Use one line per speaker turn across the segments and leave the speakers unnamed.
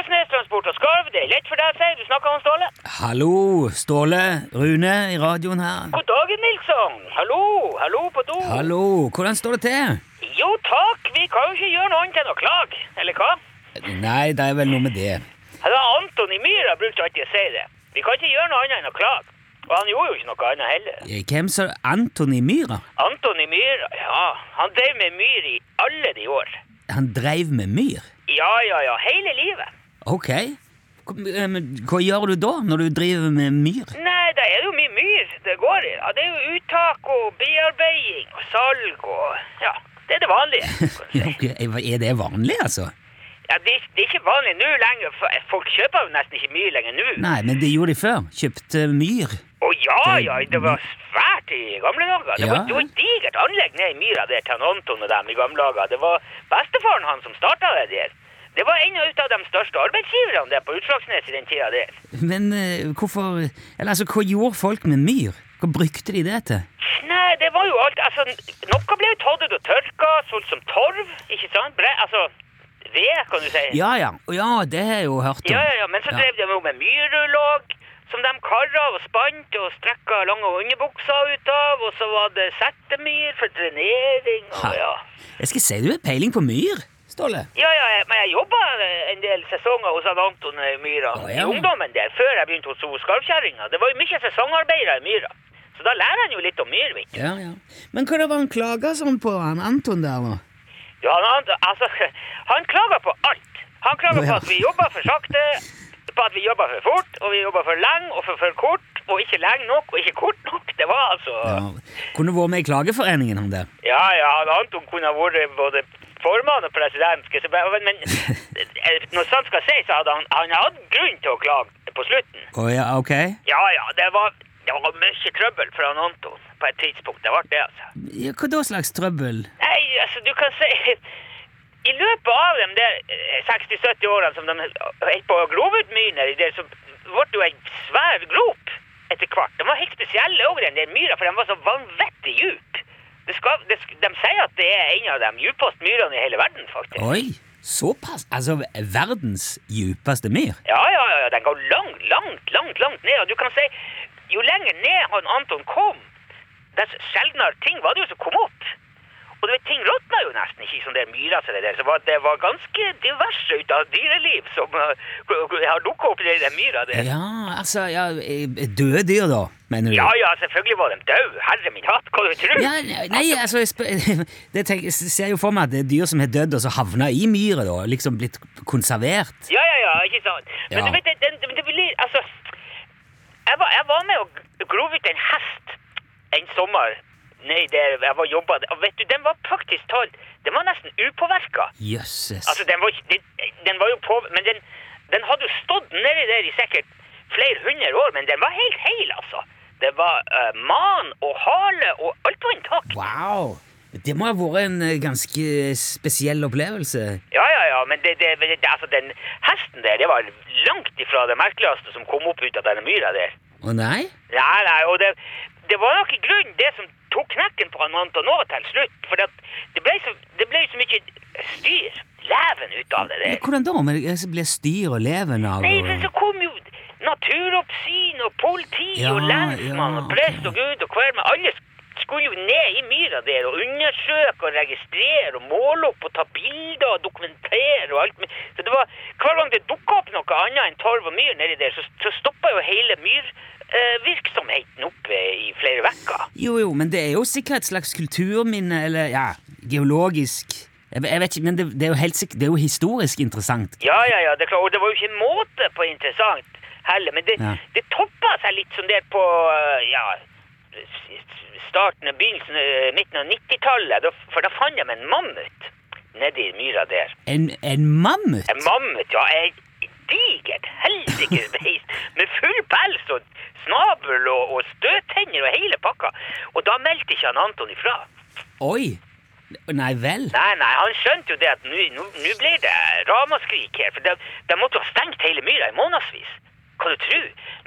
transport og skarv. Det er lett for deg, sier du. Snakker om Ståle.
Hallo, Ståle. Rune i radioen her.
God dagen, Nilsson. Hallo, hallo på do.
Hallo, hvordan står det til?
Jo takk, vi kan jo ikke gjøre noe annet enn å klage, eller hva?
Nei, det er vel noe med det.
Det var Anton i Myra brukte alltid å si det. Vi kan ikke gjøre noe annet enn å klage. Og han gjorde jo ikke noe annet heller.
Eh, Hvem sa Anton i Myra?
Anton i Myra, ja, han drev med myr i alle de år.
Han dreiv med myr.
Ja, ja, ja, hele livet.
Ok. Hva, eh, men hva gjør du da, når du driver med myr?
Nei, da er det jo mye myr det går i. Ja, det er jo uttak og bearbeiding og salg og Ja, det er det vanlige. kan du si.
Ok, eh, Er det vanlig, altså?
Ja, det, er- det er ikke vanlig nå lenger, for folk kjøper jo nesten ikke mye lenger nå.
Nei, men det gjorde de før. Kjøpte myr.
Å ja,
Det- mm.
ja, det var svært i gamle dager. Det
Ja.
var det var et digert anlegg nede i myra der til han Anton og dem i gamle dager. Det var bestefaren han som starta det der. Det var en av de største arbeidsgiverne der på Utslagsnes i den tida der.
Men eh, hvorfor Eller altså, hva gjorde folk med myr? Hva brukte de det til?
Nei, det var jo alt. Altså, noe ble jo tatt ut og tørka, sånn som torv, ikke sant? Bre, altså, ved, kan du si.
Ja ja, Å, ja det har jeg jo hørt om.
ja, ja, ja. Men så
Ja.
drev de jo med myrullog, som de karra av og spant og strekka lange underbukser ut av, og så var det settemyr for drenering,
Ha.
og ja.
Jeg skal si du har peiling på myr, Ståle.
Ja, ja, jeg- men jeg jobba en del sesonger hos han Anton i Myra.
Å, ja.
I ungdommen der, før jeg begynte hos hun Skarvkjerringa. Det var jo mye sesongarbeidere i Myra. Så da lærer han jo litt om myr, vet du.
Ja, ja. Men hva det var han klaga sånn på, han Anton der nå?
Ja, han, han- altså, han klager på alt. Han klager
Å,
på
ja.
at vi jobber for sakte, på at vi jobber for fort, og vi jobber for lenge og for, for kort, og ikke lenge nok og ikke kort nok. Det var altså
Ja. Kunne vært med i Klageforeningen, han der.
Ja, ja, han Anton kunne ha vært både formann og president, skal jeg si. men- men eh, når sant skal sies, så hadde han, han hadde grunn til å klage på slutten.
Å ja, ok.
Ja, ja, det var, det var mye trøbbel for han Anton på et tidspunkt. Det ble det, altså.
Ja, hva da slags trøbbel?
Nei, altså, du kan si I løpet av de der eh, 60-70 årene som de holdt på å grove ut mye nedi der, så ble det jo en svær grop etter hvert. De var helt spesielle òg, den der myra, for den var så vanvittig djup. Det skal, det, sk- de sier at det er en av de djupeste myrene i hele verden, faktisk.
Oi, såpass? Altså, verdens djupeste myr?
Ja, ja, ja, ja, den går langt, langt, langt, langt ned, og du kan si jo lenger ned han Anton kom, dess sjeldnere ting var det jo som kom opp. Og du vet, ting råtna jo nesten ikke i sånne der myra som det der, så var, det var ganske diverse ut av dyreliv som eh, har dukket opp i den der myra der.
Ja, altså, ja, eh, døde dyr da, mener du?
Ja, ja, selvfølgelig var de død, herre min hatt, hva du tror?
Ja, nei, altså, jeg spør, det tenker, jeg ser jo for meg at det er dyr som har dødd og så havna i myra, da, liksom blitt konservert.
Ja, ja, ja, ikke sant. Men
Ja.
du vet, det, det, det, det blir, altså, jeg var, jeg var med og grov ut en hest en sommer nede der jeg var jobba. Og vet du, den var praktisk talt, den var nesten upåvirka.
Jøsses.
Altså, den var, ikke- den, den var jo på, men den, den hadde jo stått nedi der i sikkert flere hundre år, men den var helt heil, altså. Det var eh, man og hale og alt var intakt.
Wow! Det må ha vært en eh, ganske spesiell opplevelse.
Ja, ja, ja, men det, det, det, altså, den hesten der, det var langt ifra det merkeligste som kom opp ut av denne myra der.
Å nei?
Nei, nei, og det, det var nok i grunnen det som tok knekken på han Anton nå til slutt. For det, det, ble så, det ble så mye styr, leven ut av det der.
Men Hvordan da? Men jeg blir styr og leven av
Nei,
og-
men så kom jo naturoppsyn og politi
Ja,
og lensmann
ja,
og prest
ok.
og gud og hver, men alle skulle jo ned i myra der og undersøke og registrere og måle opp og ta bilder og dokumentere og alt. men- Så det var, hver gang det dukket opp noe annet enn torv og myr nedi der, så, så stoppet jo hele myrvirksomheten opp eh, i flere vekker.
Jo, jo, men det er jo sikkert et slags kulturminne, eller ja, geologisk Jeg, jeg vet ikke, men det, det, er jo helt sikkert, det er jo historisk interessant.
Ja, ja, ja, det er klart. Og det var jo ikke en måte på interessant heller. Men det,
Ja.
det toppa seg litt sånn der på eh, ja, s- s- starten av begynnelsen, eh, midten av 90-tallet. Da- For da fant de en mammut nedi myra der.
En, en mammut?
En mammut, ja. En digert helsikes beist med full pels og snabel og, og støttenner og hele pakka. Og da meldte ikke han Anton ifra.
Oi! Nei vel?
Nei, nei, han skjønte jo det at nå- nå nå blir det ramaskrik her, for de, de måtte jo ha stengt hele myra i månedsvis. Hva du tro?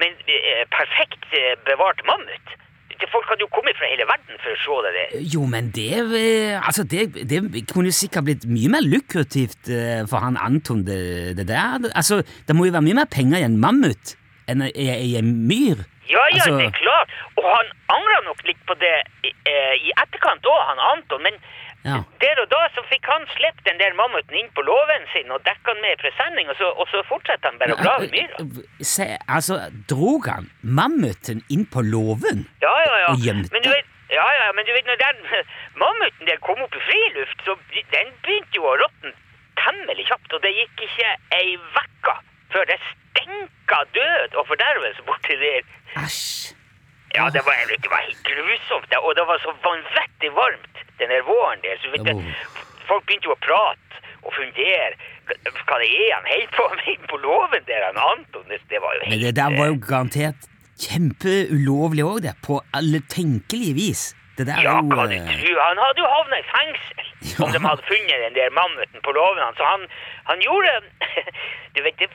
Men eh, perfekt eh, bevart mammut det- Folk hadde jo kommet fra hele verden for å se det der.
Jo, men det eh, Altså, det, det kunne jo sikkert blitt mye mer lukrativt eh, for han Anton, det, det der. Altså, det må jo være mye mer penger i en mammut enn i, i en myr.
Ja, ja,
Altså-
det er klart. Og han angra nok litt på det i, eh, i etterkant òg, han Anton. Men
Ja.
der og da så fikk han sluppet den der mammuten inn på låven sin og dekka den med i presenning, og så, og så fortsatte han bare å
eh,
grave i myra.
Se, altså, drog han mammuten inn på låven?
Ja, ja, ja.
Og gjemte.
Men du vet, ja, ja, men du vet når den mammuten der kom opp i friluft, så be- den begynte jo å råtne temmelig kjapt, og det gikk ikke ei vekka før det stenka død og fordervelse borti der.
Æsj.
Ja, det var, det var helt grusomt, det. og det var så vanvittig varmt den her våren der. Så vet du,
Oh.
folk begynte jo å prate og fundere. Hva det er han holder på med inne på låven der, han Anton? Det, det var jo
Men
helt
det der var jo garantert kjempeulovlig òg, det. På alle tenkelige vis. Det der
Ja,
er jo
kan du
eh,
tro. Han hadde jo havna i fengsel om de hadde funnet den der mammuten på låven hans. Så han, han gjorde Du vet, det,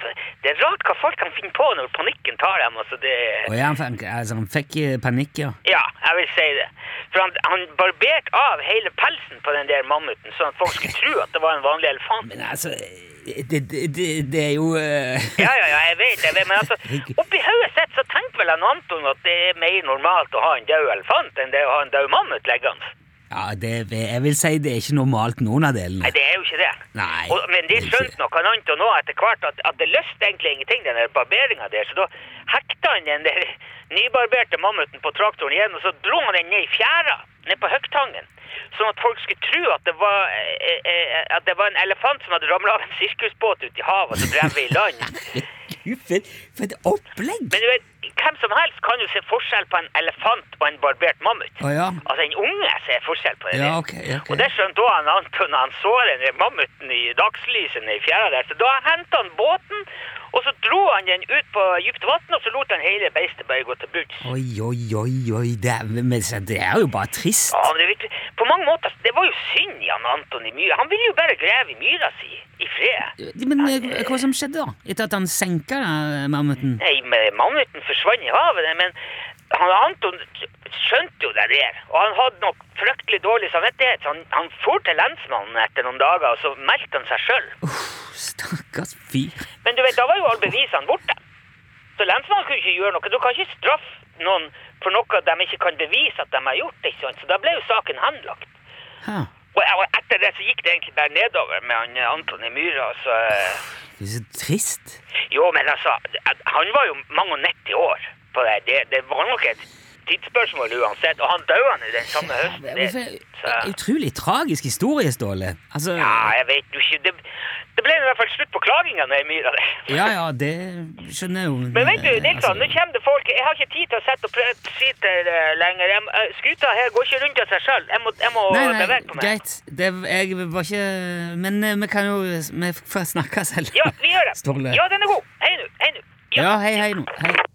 det er rart hva folk kan finne på når panikken tar dem. Altså, det
Og ja, han, fikk- altså, han fikk eh, panikk, ja.
Ja, jeg vil si det. For han, han barberte av hele pelsen på den der mammuten, sånn at folk skulle tro at det var en vanlig elefant.
Men altså Det, det, det, det er jo eh,
Ja, ja, ja, jeg vet, jeg vet, men altså, oppi hodet sitt så tenker vel han Anton at det er mer normalt å ha en død elefant enn det å ha en død mammut liggende.
Ja, det, jeg vil si det er ikke normalt, noen av delene.
Nei, det er jo ikke det.
Nei,
og, men de
det er ikke
skjønte nok han Anton òg etter hvert at, at det løste egentlig ingenting, den der barberinga der. Så da hekta han den der nybarberte mammuten på traktoren igjen, og så dro han den ned i fjæra, ned på Høgtangen. Sånn at folk skulle tro at det var, eh, eh, at det var en elefant som hadde ramla av en sirkusbåt ute i havet, og så drev vi i land.
Gud, For, for et opplegg!
Men du vet, hvem som helst kan jo se forskjell på en elefant og en barbert mammut.
Å ja.
Altså, en unge ser forskjell på det.
Ja,
der.
ok, ok.
Og det skjønte også han Anton når han så den der mammuten i dagslyset nede i fjæra der. Så da hentet han båten, og så dro han den ut på djupt vann, og så lot han hele beistet bare gå til bunns.
Oi, oi, oi, oi. Det er, men, så det er jo bare trist.
Ja, men det, er virkelig- på mange måter, altså, det var jo synd i han Anton i myra. Han ville jo bare greve i myra si, i fred.
Men eh, hva som skjedde da? Etter at han senka eh, mammuten?
Nei, men mammuten forsvant i havet, nei, men han Anton skjønte jo det der. Og han hadde nok fryktelig dårlig samvittighet, så han, han for til lensmannen etter noen dager, og så meldte han seg sjøl.
Stakkars fyr.
Men du vet, da var jo alle bevisene borte. Så lensmannen kunne ikke gjøre noe. Du kan ikke straffe noen for noe de ikke kan bevise at de har gjort, ikke sant. Så da ble jo saken henlagt.
Ha.
Og, og etter det så gikk det egentlig bare nedover med han eh, Anton i myra, så eh,
Det er så trist.
Jo, men altså, at- han var jo mange og 90 år på det. Det, det var nok et tidsspørsmål uansett, og han døde han i den samme høsten.
Ja,
Det,
hvorfor-
så,
Utrolig tragisk historie, Ståle. Altså,
ja, jeg vet jo ikke, det, det ble i hvert fall slutt på klagingene i myra der.
ja, ja, det skjønner jeg jo.
Men vet du,
altså,
Nilsson, nå kommer det folk, jeg har ikke tid til å sette og prøve sitte eh, lenger. Jeg, må- eh, skuta her går ikke rundt av seg selv, jeg må, jeg må
Nei, nei,
bevege på meg.
greit. Det, jeg var ikke Men eh, vi kan jo Vi får snakkes, eller?
Ja, vi gjør det.
Ståle.
Ja, den er god. Hei nå, hei nå.
Ja, hei, hei nå. Hei.